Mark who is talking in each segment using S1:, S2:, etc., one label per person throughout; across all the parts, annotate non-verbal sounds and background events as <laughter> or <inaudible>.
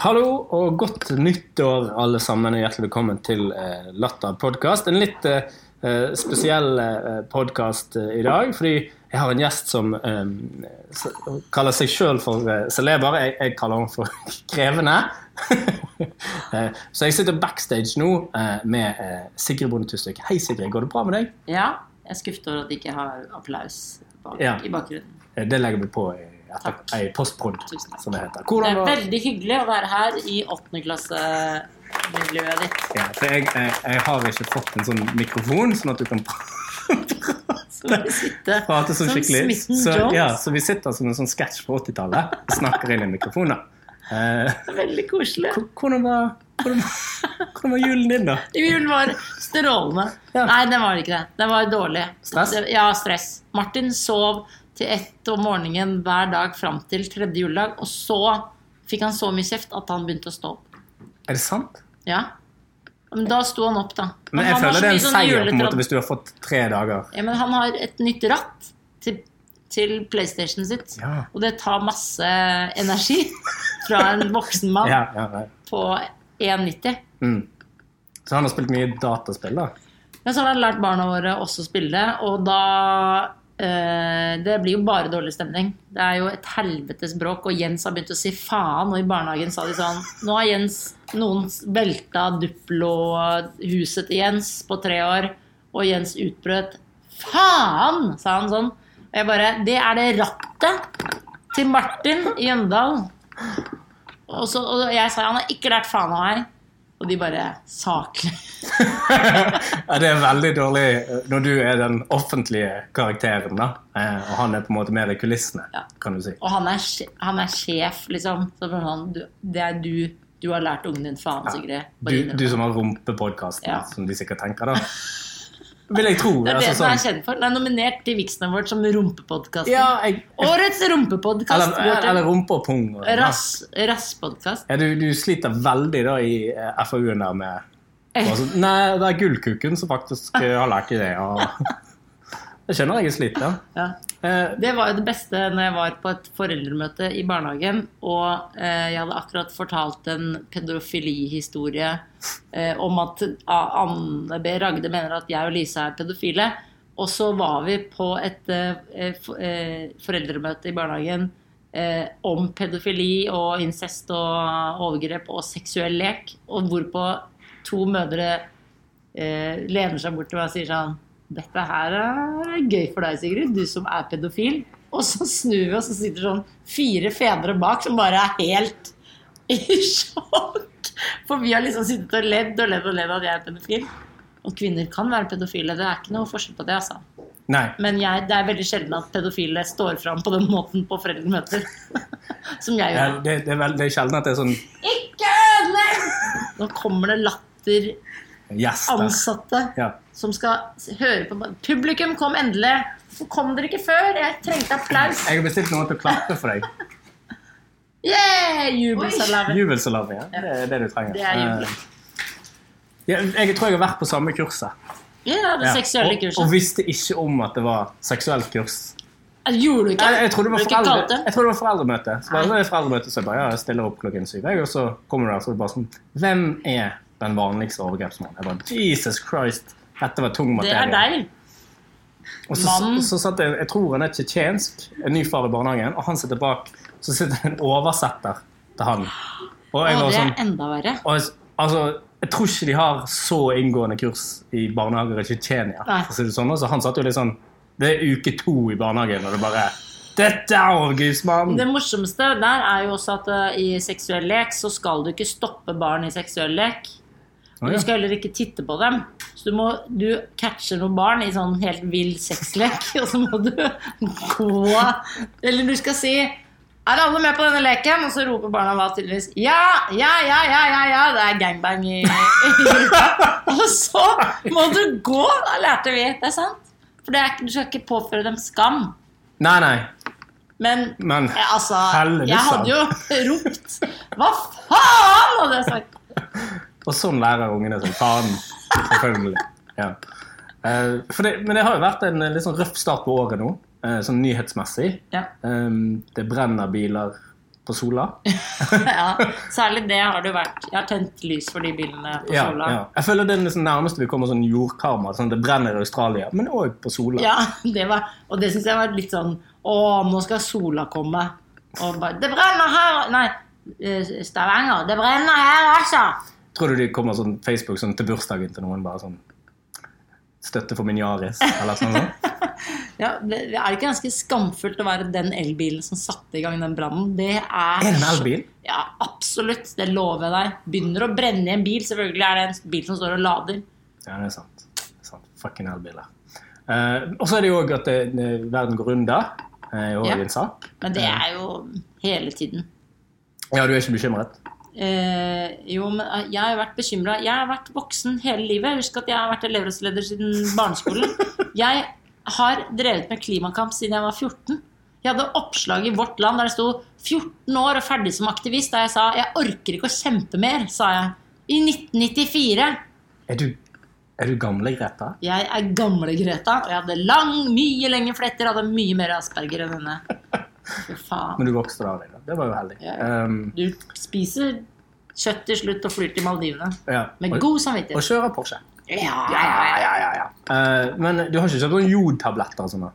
S1: Hallo og godt nyttår, alle sammen, og hjertelig velkommen til eh, Latter podkast. En litt eh, eh, spesiell eh, podkast eh, i dag, fordi jeg har en gjest som eh, s- kaller seg sjøl for eh, celeber. Jeg, jeg kaller han for <laughs> krevende. <laughs> eh, så jeg sitter backstage nå eh, med eh, Sigrid Bonde Tusvik. Hei, Sigrid. Går det bra med deg?
S2: Ja, jeg er skuffet over at de ikke har applaus bak,
S1: Ja.
S2: i bakgrunnen.
S1: Eh, Det legger vi på i, etter,
S2: Takk.
S1: i postprod,
S2: Tusen takk.
S1: som det heter.
S2: Det
S1: Hvordan
S2: er
S1: var-
S2: veldig hyggelig å være her i åttende klasse-miljøet ditt.
S1: Ja, for jeg, jeg, jeg har ikke fått en sånn mikrofon, sånn at du kan prate,
S2: Sitte
S1: prate sånn
S2: som
S1: skikkelig.
S2: Smitten
S1: Så,
S2: Jones.
S1: ja, så vi sitter som en sånn sketsj på 80-tallet og snakker inn i mikrofoner. Eh,
S2: Det er Veldig koselig.
S1: hvor- hvordan, var, hvordan, var- hvordan var julen din, da?
S2: Julen var strålende.
S1: Ja.
S2: Nei, den var ikke det. Den var dårlig.
S1: Stress?
S2: Det- Ja, stress. Martin sov til ett om morgenen hver dag fram til tredje juledag, og så fikk han så mye kjeft at han begynte å stå opp.
S1: Er det sant?
S2: Ja. Men da sto han opp, da.
S1: Men jeg
S2: han har
S1: føler
S2: så
S1: det er en
S2: mye sånn sånne
S1: seier på en
S2: juletrad-
S1: måte hvis du har fått tre dager.
S2: Ja, men han har et nytt ratt til, til PlayStation sitt.
S1: Ja.
S2: Og det tar masse energi <laughs> fra en voksen mann
S1: Ja, ja, ja.
S2: på E 1,90.
S1: Mm. Så han har spilt mye dataspill, da?
S2: Men så har han lært barna våre også å spille, og da eh, Det blir jo bare dårlig stemning. Det er jo et helvetes bråk, og Jens har begynt å si faen, og i barnehagen sa de sånn Nå har Jens noen velta Duplo-huset til Jens på tre år, og Jens utbrøt faen, sa han sånn. Og jeg bare Det er det rattet til Martin i Jøndal. Og, så, og jeg sa han har ikke lært faen av meg. Og de bare Saklig.
S1: Ja, det er veldig dårlig eh, når du er den offentlige karakteren, da. eh, Og han er på en måte mer i kulissene,
S2: Ja.
S1: kan du si.
S2: Og han er, sj- han er sjef, liksom. Så blir han, du, det er du du har lært ungen din faen, Sigrid. Bare
S1: Du,
S2: innrøm
S1: du
S2: det.
S1: som har rumpepodkasten,
S2: Ja.
S1: som de sikkert tenker,
S2: <laughs>
S1: da. Vil jeg tro.
S2: det er det
S1: altså,
S2: den er
S1: sånn,
S2: kjent for. Den er nominert til Vixen Award som rumpepodkasten.
S1: ja, jeg,
S2: Årets rumpepodkast
S1: eller,
S2: går til
S1: eller rumpe og pung. Og,
S2: Rass, rasspodkast.
S1: Ja, du, du sliter veldig da i eh, FAU-en der med
S2: Eh.
S1: og så- Nei, det er gullkuken som faktisk eh, har lært i det.
S2: <laughs>
S1: Og, <laughs> jeg skjønner jeg er sliten.
S2: Ja.
S1: Eh,
S2: Det var jo det beste når jeg var på et foreldremøte i barnehagen, og eh, jeg hadde akkurat fortalt en pedofilihistorie eh, om at A- Anne B. Ragde mener at jeg og Lise er pedofile. Og så var vi på et eh, for, eh, foreldremøte i barnehagen eh, om pedofili og incest og overgrep og seksuell lek, og hvorpå to mødre eh, lener seg bort til meg og sier sånn Dette her er gøy for deg, Sigrid, du som er pedofil. Og så snur vi oss og sitter sånn fire fedre bak som bare er helt <laughs> i sjokk. For vi har liksom sittet og ledd og ledd og ledd at jeg er pedofil. Og kvinner kan være pedofile, det er ikke noe forskjell på det, altså.
S1: nei.
S2: Men jeg, det er veldig sjelden at pedofile står fram på den måten på foreldremøter. <laughs> Som jeg
S1: eh,
S2: gjør.
S1: Det, det, er vel- det er sjelden at det er sånn
S2: Ikke ødelegg! Nå kommer det latter.
S1: gjester.
S2: Ansatte
S1: Ja.
S2: som skal høre på Publikum, kom endelig! Hvorfor kom dere ikke før? Jeg trengte applaus!
S1: Jeg har bestilt noen til å klappe for
S2: <laughs>
S1: deg.
S2: Yeah! Jubelsalarm.
S1: Jubelsalami. Ja. Det er det du trenger.
S2: Det er jubel.
S1: Eh, ja, jeg tror jeg har vært på samme kurset.
S2: Ja, det
S1: Ja.
S2: seksuelle
S1: Og, og
S2: kurset.
S1: visste ikke om at det var seksuelt kurs.
S2: Gjorde du ikke?
S1: Jeg, jeg, trodde det var
S2: Ble ikke
S1: foreldre,
S2: kalt det?
S1: jeg trodde det var foreldremøte. Så bare,
S2: Nei.
S1: det er foreldremøte, så jeg bare ja, jeg stiller opp klokken syv. Jeg, og så kommer du der, så er det bare sånn Hvem er den vanligste overgrepsmannen? Jeg bare, Jesus Christ, dette var tung
S2: Det
S1: materie.
S2: er deg.
S1: Og så,
S2: Mannen.
S1: så satt jeg, jeg tror han er tsjetsjensk, en ny far i barnehagen, og han sitter bak. Så sitter en oversetter til han. Og jeg
S2: Og
S1: var
S2: det
S1: sånn
S2: er enda verre.
S1: Og jeg- altså, jeg tror ikke de har så inngående kurs i barnehager i Tsjetsjenia.
S2: Nei.
S1: for å si det Sånn, altså, han satt jo litt sånn Det er uke to i barnehagen, og det bare Dette er
S2: Det
S1: overgripsmann!
S2: morsomste der er jo også at eh, i seksuell lek så skal du ikke stoppe barn i seksuell lek. Og
S1: Å, Ah, ja.
S2: Du skal heller ikke titte på dem. Så du, må, du catcher noen barn i sånn helt vill sexlek, <laughs> og så må du gå Eller du skal si er alle med på denne leken? Og så roper barna da tydeligvis ja, ja, ja, ja, ja, ja. Det er gangbang i, i <laughs> gruppa. Og så må du gå! Da lærte vi. Det er sant. For det er, ikke- du skal ikke påføre dem skam.
S1: <laughs> Nei, nei.
S2: Men
S1: Men
S2: ja, altså,
S1: Helvete,
S2: jeg
S1: sa han.
S2: hadde jo ropt Hva faen? hadde jeg sagt.
S1: Og sånn lærer ungene seg. Faen. Selvfølgelig. Ja. Eh, for det, men det har jo vært en eh, litt sånn røff start på året nå, eh, sånn nyhetsmessig.
S2: Ja.
S1: Um, det brenner biler på på Sola.
S2: <laughs> ja, særlig det har du vært. Jeg har tent lys for de bilene på
S1: Ja,
S2: Sola.
S1: ja. Jeg føler det er liksom nærmeste vi kommer sånn jordkarma. Sånn at det brenner i Australia, men òg på Sola.
S2: Ja, det var, og det syns jeg var litt sånn Å, nå skal sola komme. Og bare Det brenner her! Nei, eh, Stavanger. Det brenner her, altså!
S1: Tror du de kommer sånn Facebook sånn til bursdagen til noen bare sånn Støtte for min Yaris, eller sånn?
S2: <laughs>
S1: sånn?
S2: Ja, det, det er ikke ganske skamfullt å være den elbilen som satte i gang den brannen. Det er
S1: Er det en elbil?
S2: Ja, absolutt. Det lover jeg deg. Begynner å brenne i en bil. Selvfølgelig er det en bil som står og lader.
S1: Ja, det er sant. Det er sant. Fucking elbiler. Eh, og så er det jo òg at det, det- verden går under. eh, Det er jo
S2: Ja.
S1: en sak.
S2: Men det er jo hele tiden.
S1: Ja, du er ikke bekymret?
S2: Eh, jo, men eh, jeg har jo vært bekymra. Jeg har vært voksen hele livet. Husk at jeg har vært elevrådsleder siden barneskolen. Jeg har drevet med klimakamp siden jeg var 14. Jeg hadde oppslag i Vårt Land der det sto 14 år og ferdig som aktivist, der jeg sa 'jeg orker ikke å kjempe mer', sa jeg. I 1994.
S1: Er du, er du gamle Greta?
S2: Jeg er gamle Greta, og jeg hadde lang, mye lengre fletter, hadde mye mer asperger enn henne. Fy faen.
S1: Men du vokste da av deg. da. Det var jo heldig.
S2: Ja.
S1: Um,
S2: Du spiser kjøtt til slutt og flyr til Maldivene.
S1: ja.
S2: Med
S1: Og,
S2: god
S1: og
S2: samvittighet.
S1: kjører Porsche.
S2: Ja, ja, ja, ja.
S1: Eh, men du har ikke kjøpt sånn jodtabletter og sånn? da?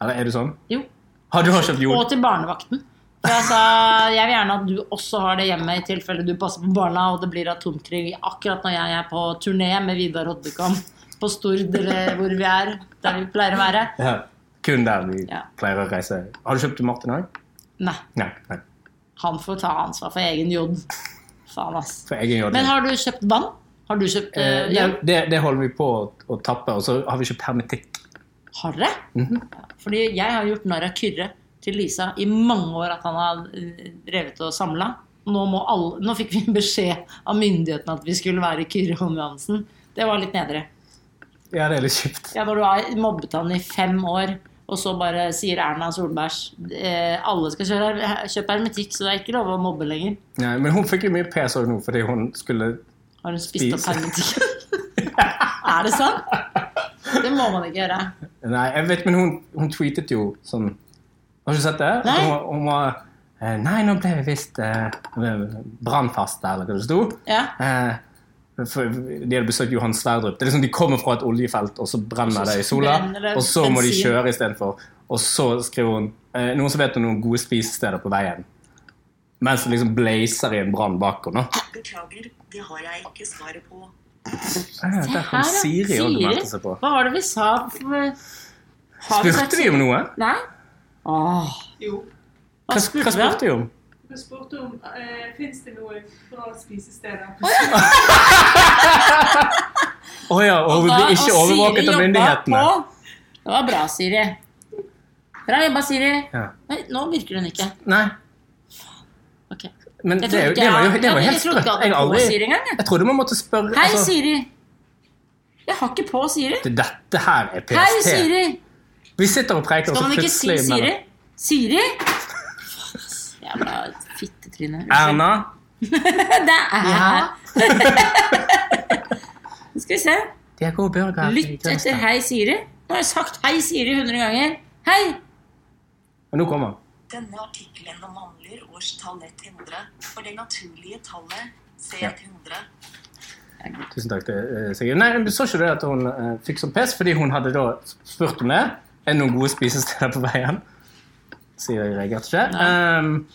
S1: Eller er du sånn?
S2: Jo.
S1: Har du har kjøpt jod?
S2: Og til barnevakten. For jeg sa jeg vil gjerne at du også har det hjemme, i tilfelle du passer på barna og det blir atomkrig akkurat når jeg er på turné med Vidar Hoddekamp på Stord, eller hvor vi er, der vi pleier å være.
S1: Ja. Kun der vi
S2: Ja.
S1: pleier å reise. Har du kjøpt til Martin òg?
S2: Nei,
S1: Nei. nei.
S2: han får ta ansvar for egen jod. Faen, ass.
S1: For jeg er jo
S2: Men har du kjøpt vann? Har du kjøpt
S1: Eh,
S2: eh,
S1: det,
S2: ja,
S1: det, det holder vi på å, å tappe, og så har vi kjøpt hermetikk.
S2: Har dere? Ja, Fordi jeg har gjort narr av Kyrre til Lisa i mange år at han har eh, drevet og samla. Nå, må alle, nå fikk vi beskjed av myndighetene at vi skulle være Kyrre Holm Johansen. Det var litt nedre.
S1: Ja, det er litt kjipt.
S2: Ja, når du har mobbet han i fem år, og så bare sier Erna Solberg eh, alle skal kjøre, her- kjøpe hermetikk, så det er ikke lov å mobbe lenger.
S1: Nei, men hun fikk jo mye pes òg nå fordi hun skulle
S2: Har hun spist opp
S1: Spise.
S2: hermetikken? <laughs> er det sant? Det må man ikke gjøre.
S1: Nei, jeg vet, men hun, hun tweetet jo sånn Har du sett det? At
S2: Nei.
S1: Hun, hun var eh, Nei, nå ble vi visst eh, brannfaste, eller hva det sto.
S2: Ja.
S1: Eh, for de hadde besøkt Johan Sverdrup. Det er liksom De kommer fra et oljefelt, og så brenner
S2: Så
S1: det i sola.
S2: brenner det
S1: Og så må de
S2: bensin.
S1: kjøre istedenfor. Og så skriver hun eh, noen som vet om noen gode spisesteder på veien. Mens det liksom blazer i en brann bak henne.
S3: Beklager, det har jeg ikke svaret på.
S1: Eh,
S2: Se
S1: der
S2: her,
S1: kom Siri og
S2: Siri.
S1: meldte seg på.
S2: Hva var det vi sa? Har vi sagt-
S1: Spurte vi om noe?
S2: Nei? Åh.
S4: Jo.
S2: Hva
S1: Hva,
S2: spurte
S1: hva
S2: vi om?
S1: spurte vi om?
S4: Du spurte om eh, fins det noe bra spisesteder.
S1: Å ja, og hun
S2: Da-
S1: blir ikke
S2: og Siri
S1: overvåket av
S2: jobba
S1: myndighetene.
S2: på. Det var bra, Siri. Bra jobba, Siri.
S1: Ja.
S2: Nei, nå virker hun ikke.
S1: Nei,
S2: Ok.
S1: men det,
S2: Jeg trodde
S1: er jo-
S2: ikke
S1: det var jo
S2: jeg-
S1: det var
S2: jeg-
S1: helt
S2: jeg trodde
S1: sprøtt.
S2: ikke jeg
S1: Jeg,
S2: hadde på
S1: aldri-
S2: Siri engang. jeg.
S1: jeg trodde man måtte spørre
S2: Hei,
S1: altså,
S2: Siri. Jeg har ikke på Siri.
S1: det- Dette her er
S2: Hei,
S1: PST.
S2: Siri.
S1: Vi sitter og preiker, og
S2: Kan
S1: så
S2: man ikke si
S1: plutselig
S2: Siri?
S1: melder-
S2: Siri? Faen, Jævla fittetryne. Unnskyld.
S1: Erna,
S2: Det er <laughs> Nå skal vi se.
S1: de har god burger.
S2: Lytt etter Hei, Siri. Nå har jeg sagt Hei, Siri 100 ganger. Hei!
S1: Men nå kommer han.
S3: Denne artikkelen omhandler årstall 100 for det naturlige tallet C100.
S1: Tusen takk til eh, Sigrid. Nei, men så ikke det at hun eh, fikk sånn pes, fordi hun hadde da spurt om det. Er det noen gode spisesteder på veien? Sier jeg reagerte ikke. Ehm,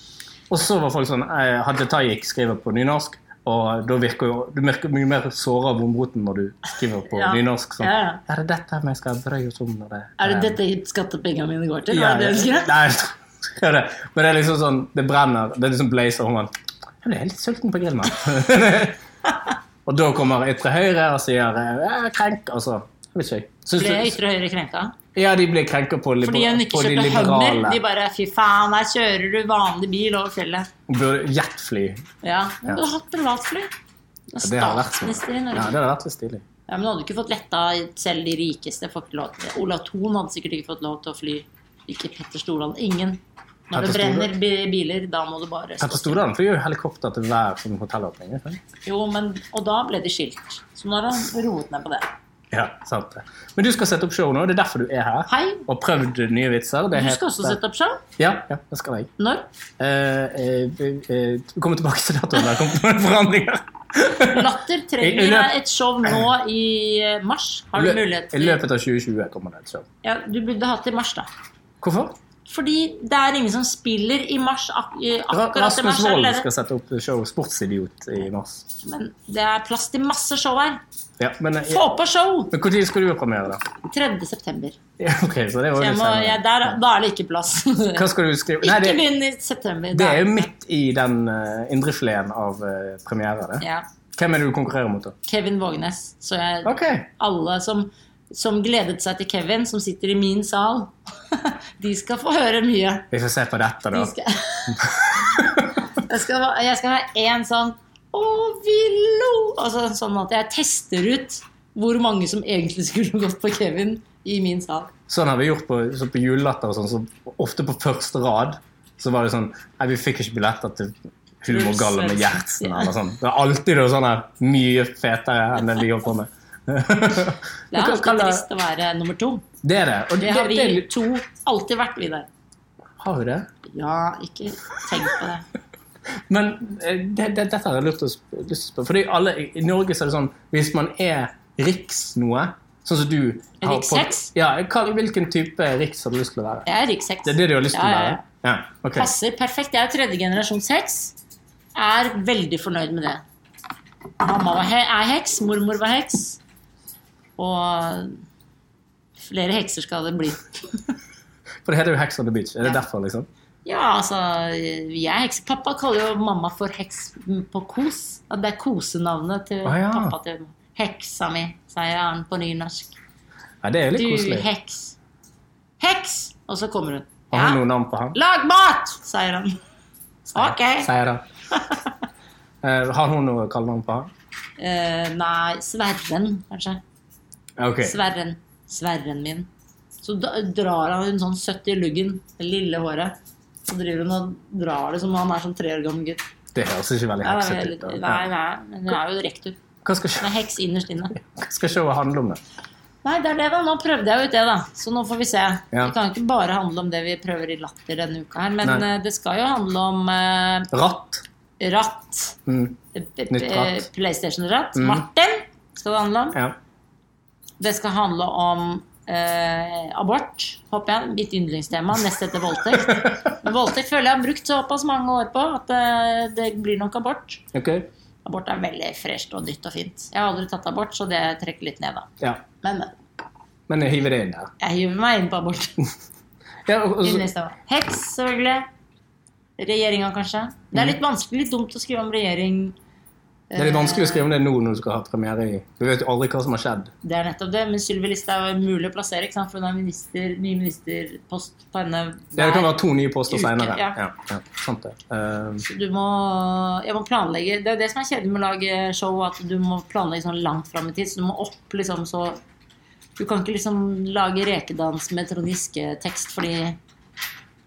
S1: og så var folk sånn eh, Hadia Tajik skriver på nynorsk, og da virker jo Du virker mye mer såra av vondbroten når du skriver på
S2: Ja.
S1: nynorsk. Sånn.
S2: Ja, ja.
S1: Er det dette vi skal bry oss om når det
S2: Er det
S1: eh,
S2: dette skattepengene mine går til?
S1: ja,
S2: er det det du
S1: ja.
S2: ønsker?
S1: Nei, <laughs> jeg tror det. Men det er liksom sånn Det brenner. Det er liksom blazer. Og man Jeg ble litt sulten på
S2: <laughs>
S1: grillmat. og da kommer ytre høyre og sier «Jeg er krenk. Altså, jeg vet ikke. jeg. Syns
S2: Ble
S1: du-
S2: ytre høyre krenka?
S1: Ja, de ble krenka på, liber
S2: Fordi hun ikke
S1: på de
S2: kjøpte hummer.
S1: liberale.
S2: De bare Fy faen, her kjører du vanlig bil over fjellet.
S1: Burde jetfly.
S2: Ja, men du har hatt privatfly. Du
S1: Ja,
S2: er
S1: det har vært sånn.
S2: Statsminister i
S1: Ja, det
S2: Norge.
S1: hadde vært litt stilig.
S2: Ja, men du hadde ikke fått letta selv de rikeste. Får ikke lov til det. Ola Thon hadde sikkert ikke fått lov til å fly. Ikke Petter Stordalen. Ingen.
S1: Petter
S2: Når det
S1: Stordalen-
S2: brenner bi- biler, da må du bare
S1: Petter Stordalen flyr jo helikopter til hver sånn hotellåpning. ikke sant?
S2: Jo, men, Og da ble de skilt. Så nå har han roet ned på det.
S1: Ja, sant det. Men du skal sette opp show nå, det er derfor du er her.
S2: Hei,
S1: Og prøvd nye vitser. Det er
S2: du
S1: helt-
S2: skal også sette opp show?
S1: Ja, ja, det skal jeg.
S2: Når?
S1: Eh, eh, eh, vi kommer tilbake til datoen. Det har kommet noen forandringer.
S2: Latter
S1: I- i
S2: trenger
S1: løp-
S2: et show nå i eh, mars. Har du mulighet
S1: I
S2: til
S1: løpet av 2020 kommer det et show.
S2: ja, Du burde hatt det i mars, da.
S1: Hvorfor?
S2: Fordi det er ingen som spiller i mars. Ak eh,
S1: Ra-
S2: akkurat i
S1: Rasmus
S2: mars
S1: Wold
S2: eller?
S1: skal sette opp show Sportsidiot i mars.
S2: Men det er plass til masse show her.
S1: Ja, men eh,
S2: Få på show!
S1: men når skal du ha premiere, da?
S2: 3. september.
S1: Ja, ok, så det var
S2: Så
S1: jo
S2: jeg
S1: litt
S2: må, jeg,
S1: senere.
S2: der, da er det ikke plass.
S1: Hva skal du skrive? Nei,
S2: Ikke
S1: det,
S2: begynn i september.
S1: det
S2: da.
S1: er jo midt i den eh, indrefileten av eh, premiere. Det.
S2: ja.
S1: Hvem er det du konkurrerer mot, da?
S2: Kevin Vågenes. Så jeg,
S1: Ok,
S2: alle som, som gledet seg til Kevin, som sitter i min sal, <laughs> de skal få høre mye.
S1: Vi får se på dette, da.
S2: De skal... <laughs> Jeg, skal, ha- jeg skal ha én sånn Å, vi lo! Altså, sånn at jeg tester ut hvor mange som egentlig skulle gått på Kevin i min sal.
S1: Sånn har vi gjort på, så på julelatter og sånn, så ofte på første rad så var det sånn Nei, vi fikk ikke billetter til Humorgalla med Gjertsen
S2: Ja.
S1: eller sånn. Det er alltid noe sånn her mye fetere enn det vi holder på med.
S2: Det er
S1: Hva- hva-
S2: alltid trist å være nummer to.
S1: Det er det. Og
S2: Det har
S1: det, det,
S2: vi to alltid vært, Vidar.
S1: har vi det?
S2: Ja, ikke tenk på det.
S1: Men eh, det, det, dette har jeg lyst til å sp- lyst til å spørre Fordi alle, I Norge så er det sånn hvis man er riks noe, sånn som du har på-
S2: Riksheks?
S1: Ja, hva, Hvilken type riks har du lyst til å være?
S2: Jeg er riksheks.
S1: Det er det du har lyst til
S2: Ja,
S1: å
S2: ja,
S1: være?
S2: ja.
S1: Ja, ok.
S2: Passer perfekt. Jeg er tredje generasjons heks. Er veldig fornøyd med det. Mamma var he er heks, mormor var heks. Og flere hekser skal det bli.
S1: For det heter jo Hex on the Beach. Er det
S2: Ja.
S1: derfor, liksom?
S2: Ja, altså, vi er hekser. Pappa kaller jo mamma for heks på kos. At det er kosenavnet til
S1: Å, Ah, ja.
S2: pappa til heksa mi, sier han på nynorsk.
S1: Ja, det er jo
S2: Du,
S1: litt koselig.
S2: heks. Heks! Og så kommer hun.
S1: Har hun
S2: Ja.
S1: noe navn på han?
S2: Lag mat, sier han. Ok.
S1: Sier
S2: <laughs>
S1: han. Eh, har hun noe kallenavn på han?
S2: Eh, nei, Sverren, kanskje.
S1: Ok.
S2: Sverren. Sverren min. Så da, drar han en sånn søtt i luggen, det lille håret. Så driver hun og drar det som om han er som tre år gammel gutt.
S1: Det høres ikke veldig
S2: Ja, det er
S1: heksete ut.
S2: litt,
S1: da.
S2: nei, nei, men hun er jo rektor.
S1: Hva skal,
S2: Hun er heks innerst inne.
S1: hva skal showet handle om? da?
S2: Nei, det er det, da. Nå prøvde jeg ut det, da. Så nå får vi se.
S1: Ja.
S2: Det kan ikke bare handle om det vi prøver i Latter denne uka her, men
S1: Nei.
S2: eh, det skal jo handle om eh,
S1: Ratt.
S2: ratt.
S1: Mm.
S2: P-
S1: Nytt ratt.
S2: p- PlayStation-ratt.
S1: Mm.
S2: Martin skal det handle om.
S1: Ja.
S2: Det skal handle om eh, abort, håper jeg. Mitt yndlingstema. Nest etter voldtekt. Men voldtekt føler jeg har brukt såpass mange år på at eh, det blir nok abort.
S1: Ok.
S2: Abort er veldig fresht og nytt og fint. Jeg har aldri tatt abort, så det trekker litt ned, da.
S1: Ja.
S2: Men men,
S1: Men jeg hiver det inn der.
S2: jeg hiver meg inn på abort.
S1: <laughs> Ja, og- og så-
S2: Yndlingstema. Heks, selvfølgelig. Regjeringa, kanskje. Det er litt vanskelig, litt dumt å skrive om regjering.
S1: det er litt vanskelig å skrive om det nå når du skal ha premiere i Du vet jo aldri hva som har skjedd.
S2: Eh, Det er nettopp det. Men Sylvi Listhaug er mulig å plassere, ikke sant? for hun har minister, ny ministerpost på henne
S1: Ja, det kan være to nye poster
S2: Uke,
S1: senere.
S2: ja.
S1: Ja, ja, sant det. Eh,
S2: Du må, jeg må planlegge Det er det som er kjedelig med å lage show, at du må planlegge sånn langt fram i tid. Så du må opp liksom så Du kan ikke liksom lage rekedans med Trond Giske-tekst fordi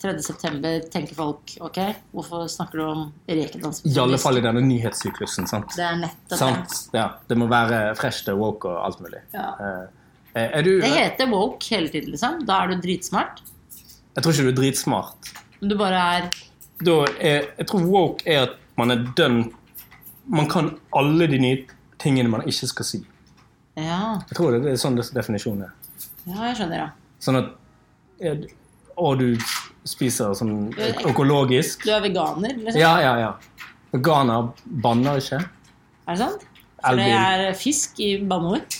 S2: 3.9. tenker folk OK, hvorfor snakker du om rekedans med
S1: I alle
S2: Trond
S1: fall
S2: Giske?
S1: i denne nyhetssyklusen, sant?
S2: Det er nettopp det.
S1: sant? Ja, det må være fresh og woke og alt mulig.
S2: Ja.
S1: Eh, er du
S2: Det heter woke hele tiden, liksom. Da er du dritsmart.
S1: Jeg tror ikke du er dritsmart.
S2: Men du bare er
S1: da er, jeg tror woke er at man er dønn Man kan alle de nye tingene man ikke skal si.
S2: Ja,
S1: Jeg tror det, det er sånn des- definisjonen er.
S2: ja jeg skjønner, ja.
S1: Sånn at ja, Og du spiser sånn ø- økologisk.
S2: Du er veganer, liksom.
S1: Ja, ja, ja. Veganer banner ikke.
S2: Er det sant? For det er
S1: Elbil.
S2: fisk i banneord.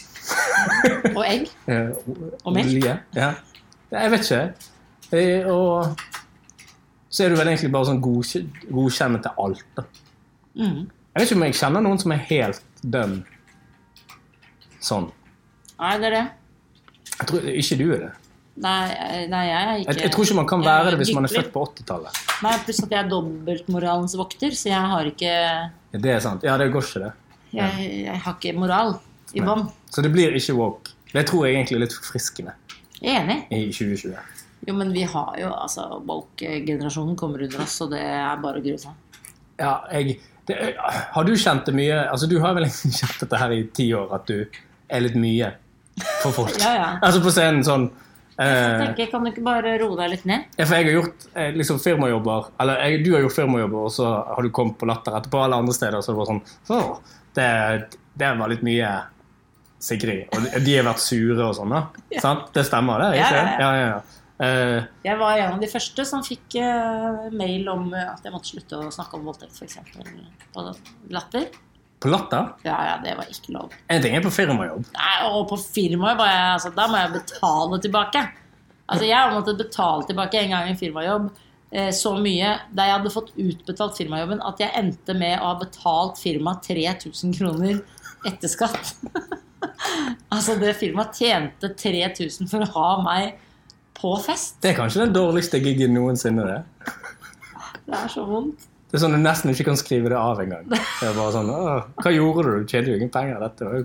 S2: Og egg.
S1: Eh,
S2: Og melk.
S1: Olje. Ja. Ja, Jeg vet ikke. Eh, Og så er du vel egentlig bare sånn godkjent, godkjent til alt. da.
S2: Mhm.
S1: Jeg vet ikke om jeg kjenner noen som er helt dønn sånn.
S2: Nei, det er det.
S1: Jeg tror ikke du er det.
S2: Nei, eh, nei jeg er ikke
S1: Jeg, jeg tror ikke man kan
S2: jeg
S1: være det hvis man er
S2: lykkelig.
S1: født på 80-tallet.
S2: Nei, pluss at jeg er dobbeltmoralens vokter, så jeg har ikke
S1: Ja, Det er sant. Ja, det går ikke, det.
S2: Jeg, jeg har ikke moral i bånn.
S1: Så det blir ikke woke. Det tror jeg egentlig er litt forfriskende
S2: Jeg er enig.
S1: i 2020.
S2: Jo, men vi har jo altså Woke-generasjonen kommer under oss, og det er bare å grue seg.
S1: Ja, jeg, det, <laughs> har du kjent det mye Altså, du har vel egentlig kjent dette her i ti år, at du er litt mye. for folk.
S2: <laughs> Ja, ja.
S1: <laughs> Altså på scenen sånn
S2: Jeg
S1: eh,
S2: tenker, Kan du ikke bare roe deg litt ned?
S1: Ja, for jeg har gjort eh, liksom firmajobber Eller jeg, du har gjort firmajobber, og så har du kommet på Latter etterpå, eller andre steder. Så det var sånn «Åh, det, det var litt mye Sigrid. Og de- de har vært sure og sånn,
S2: <laughs>
S1: da. Sant? Det stemmer, det? Ikke?
S2: Ja, ja,
S1: ja, ja. Eh,
S2: Jeg var en av de første som fikk eh, mail om eh, at jeg måtte slutte å snakke om voldtekt, f.eks. På latter.
S1: på Latter?
S2: Ja, ja, det var ikke lov.
S1: En ting er på firmajobb.
S2: Nei, og på firmaet var jeg altså, Da må jeg betale tilbake. Altså, jeg har måttet betale tilbake en gang i en firmajobb eh, så mye der jeg hadde fått utbetalt firmajobben at jeg endte med å ha betalt firmaet 3000 kroner etter skatt. <laughs> altså, det firmaet tjente 3000 for å ha meg på fest.
S1: Det er kanskje den dårligste gigen noensinne. Det
S2: Det er så vondt.
S1: Det er sånn du nesten ikke kan skrive det av
S2: <laughs>
S1: engang. Det er bare sånn «Åh, Hva gjorde du? Du tjente jo ingen penger. Dette var jo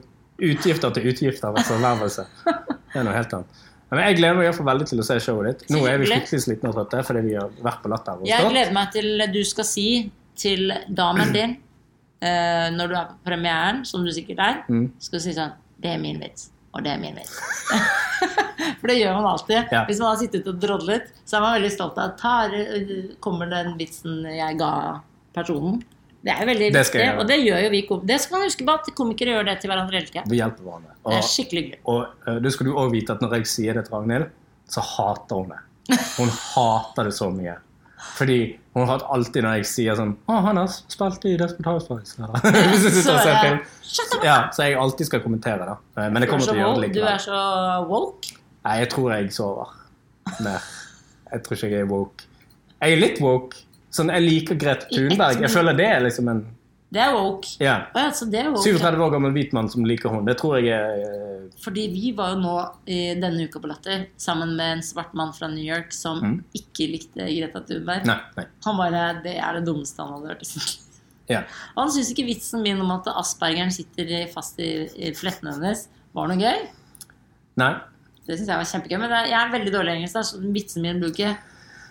S1: utgifter til utgifter. av en fornærmelse. Det er noe helt annet. Men jeg gleder meg i hvert fall veldig til å se showet ditt. Nå er vi
S2: Selvfølgelig.
S1: skikkelig slitne og trøtte fordi vi har vært på Latter. og sånn.
S2: Jeg
S1: stått.
S2: gleder meg til du skal si til damen din <clears throat> eh, når du er på premieren, som du sikkert er,
S1: Mm.
S2: skal du si sånn Det er min vits. Og det er min vits. <laughs> For det gjør man alltid.
S1: Ja.
S2: Hvis man har sittet og drodlet, så er man veldig stolt av at her eh, kommer den vitsen jeg ga personen. Det er veldig
S1: Det skal
S2: viktig,
S1: jeg gjøre.
S2: og det gjør jo vi kom Det skal man huske på at komikere gjør det til hverandre hele tiden.
S1: Vi hjelper hverandre.
S2: Det er
S1: Og,
S2: skikkelig gøy.
S1: og eh, du skal du òg vite at når jeg sier det til Ragnhild, så hater hun det.
S2: <laughs>
S1: Hun hater det så mye. Fordi hun hater alltid når jeg sier sånn Å, han har spilt i Desperate Housewives. <laughs> eller? Hvis <laughs> jeg sitter og ser film.
S2: eh, Shut up!
S1: <laughs> Ja, så jeg alltid skal kommentere det. Eh, Men jeg
S2: Du er
S1: kommer
S2: så
S1: til å gjøre det
S2: woke. Du er
S1: likevel.
S2: så woke.
S1: Nei, jeg tror jeg sover. Nei, jeg tror ikke jeg er woke. Jeg er litt woke. Sånn, jeg liker Grete
S2: I ett
S1: Thunberg. Jeg
S2: minutt.
S1: føler det er liksom en
S2: Det er woke.
S1: Ja.
S2: Å ja, så det er woke.
S1: 37 år gammel hvit mann som liker henne. Det tror jeg er eh,
S2: Fordi vi var jo nå eh, denne uka på Latter sammen med en svart mann fra New York som
S1: Mm.
S2: ikke likte Greta Thunberg.
S1: Nei. nei.
S2: Han bare Det er det dummeste han hadde hørt. <laughs> i sitt liv».
S1: Ja.
S2: Og han syntes ikke vitsen min om at aspergeren sitter i- fast i, i flettene hennes, var noe gøy.
S1: nei.
S2: Det syns jeg var kjempegøy. Men det er, jeg er veldig dårlig i engelsk, da, så vitsen min blir ikke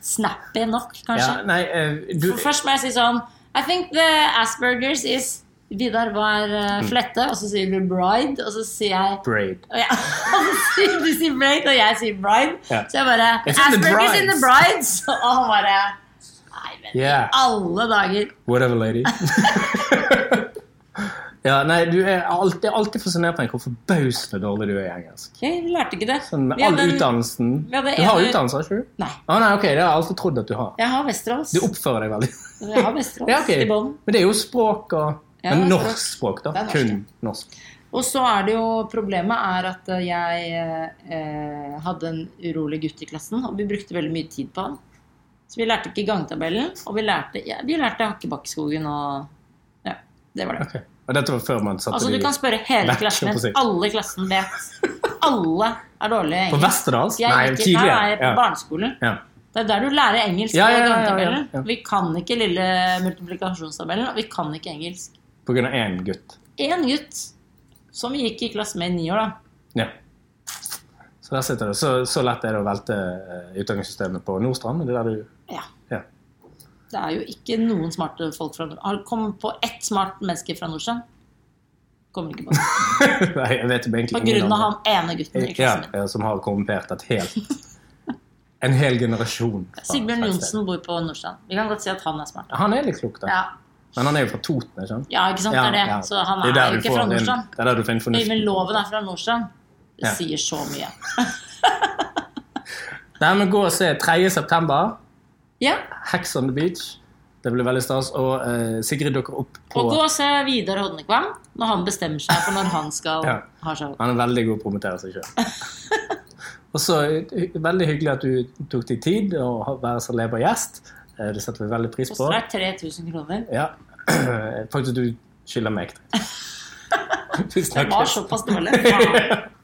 S2: snappy nok,
S1: Ja,
S2: kanskje.
S1: nei eh, du,
S2: For først må jeg si sånn I think the aspergers is Vidar var
S1: Mm.
S2: eh, flette, og så sier du bride, og så sier jeg
S1: Braid.
S2: Og jeg- <laughs> han sier- Du sier braid, og jeg sier bride.
S1: Ja.
S2: Så jeg bare
S1: It's in the
S2: Asperger's in the
S1: brides."
S2: brides! <laughs> Og han bare Nei, men
S1: Yeah.
S2: alle dager.
S1: Whatever, lady. <laughs> ja, nei, du er alltid, alltid fascinert meg hvor forbausende dårlig du er i engelsk.
S2: Jeg lærte ikke det.
S1: Sånn, med
S2: Vi
S1: all
S2: hadde en-
S1: utdannelsen.
S2: vi hadde
S1: Du har
S2: en-
S1: utdannelse, har ikke du?
S2: Nei.
S1: Å nei, ok, det har jeg alltid trodd at du har.
S2: Jeg har Vesterås.
S1: Du oppfører deg veldig.
S2: Jeg har Vesterås
S1: Ja, ok.
S2: i bånn.
S1: Men det er jo språk og
S2: Ja,
S1: Men
S2: det er
S1: norsk språk, da.
S2: Det er norsk,
S1: Kun norsk.
S2: Og så er det jo Problemet er at jeg eh, hadde en urolig gutt i klassen, og vi brukte veldig mye tid på han. Så vi lærte ikke gangtabellen, og vi lærte, ja, vi lærte Hakkebakkeskogen og Ja, det var det.
S1: Ok. Og dette var før man satte
S2: Altså,
S1: det
S2: du
S1: i-
S2: kan spørre hele
S1: Nei,
S2: klassen
S1: holdt på å si.
S2: din. Alle i klassen vet. Alle er dårlige i
S1: På
S2: engelsk.
S1: Vesterdals?
S2: Jeg
S1: Nei,
S2: gikk i-
S1: tidligere.
S2: Nei, på
S1: Ja.
S2: barneskolen.
S1: Ja.
S2: Det er der du lærer engelsk.
S1: Ja, ja, ja, ja,
S2: i
S1: ja,
S2: gangetabellen.
S1: ja.
S2: Vi kan ikke lille multiplikasjonstabellen, og vi kan ikke engelsk.
S1: På grunn av én gutt.
S2: Én gutt som vi gikk i klasse med i ni år, da.
S1: Ja. Så der sitter det. Så, så lett er det å velte eh, utdanningssystemet på Nordstrand. Det er der du
S2: Ja.
S1: Ja.
S2: Det er jo ikke noen smarte folk fra Nord- Har du kommet på ett smart menneske fra Nordstrand? Kommer ikke på
S1: <laughs>
S2: det.
S1: Nei, jeg vet jo <laughs> egentlig
S2: På grunn av
S1: andre.
S2: han ene gutten
S1: ja,
S2: i klassen min.
S1: ja, eh, som har korrumpert et
S2: <laughs>
S1: helt En hel generasjon. fra
S2: Sigbjørn
S1: et sted.
S2: Johnsen bor på Nordstrand. Vi kan godt si at han er smart.
S1: Han er litt klok, da.
S2: Ja,
S1: Men han er jo fra Toten, ikke sant?
S2: Ja, ikke sant, det er det.
S1: Ja, ja.
S2: Så han
S1: Det
S2: er,
S1: der du
S2: jo ikke
S1: får
S2: fra
S1: din-
S2: Nordstrand.
S1: Det er der du finner fornuften.
S2: Men loven er fra Nordstrand. Det
S1: Ja.
S2: sier så mye.
S1: Nei, men gå og se 3. september.
S2: Ja,
S1: Hacks on the beach. Det blir veldig stas. Og eh, Sigrid dukker opp på
S2: Og gå og se Vidar Hodnekvam når han bestemmer seg for når han skal
S1: Ja.
S2: ha show.
S1: Han er veldig god på å promotere seg sjøl. og så eh, veldig hyggelig at du tok deg tid å ha- være så leber gjest. Eh, Det setter vi veldig pris på.
S2: Koster deg 3000 kroner.
S1: Ja. <clears throat> Faktisk, du skylder meg. Vi
S2: Det var
S1: snakkes.
S2: såpass dårlig. Faen.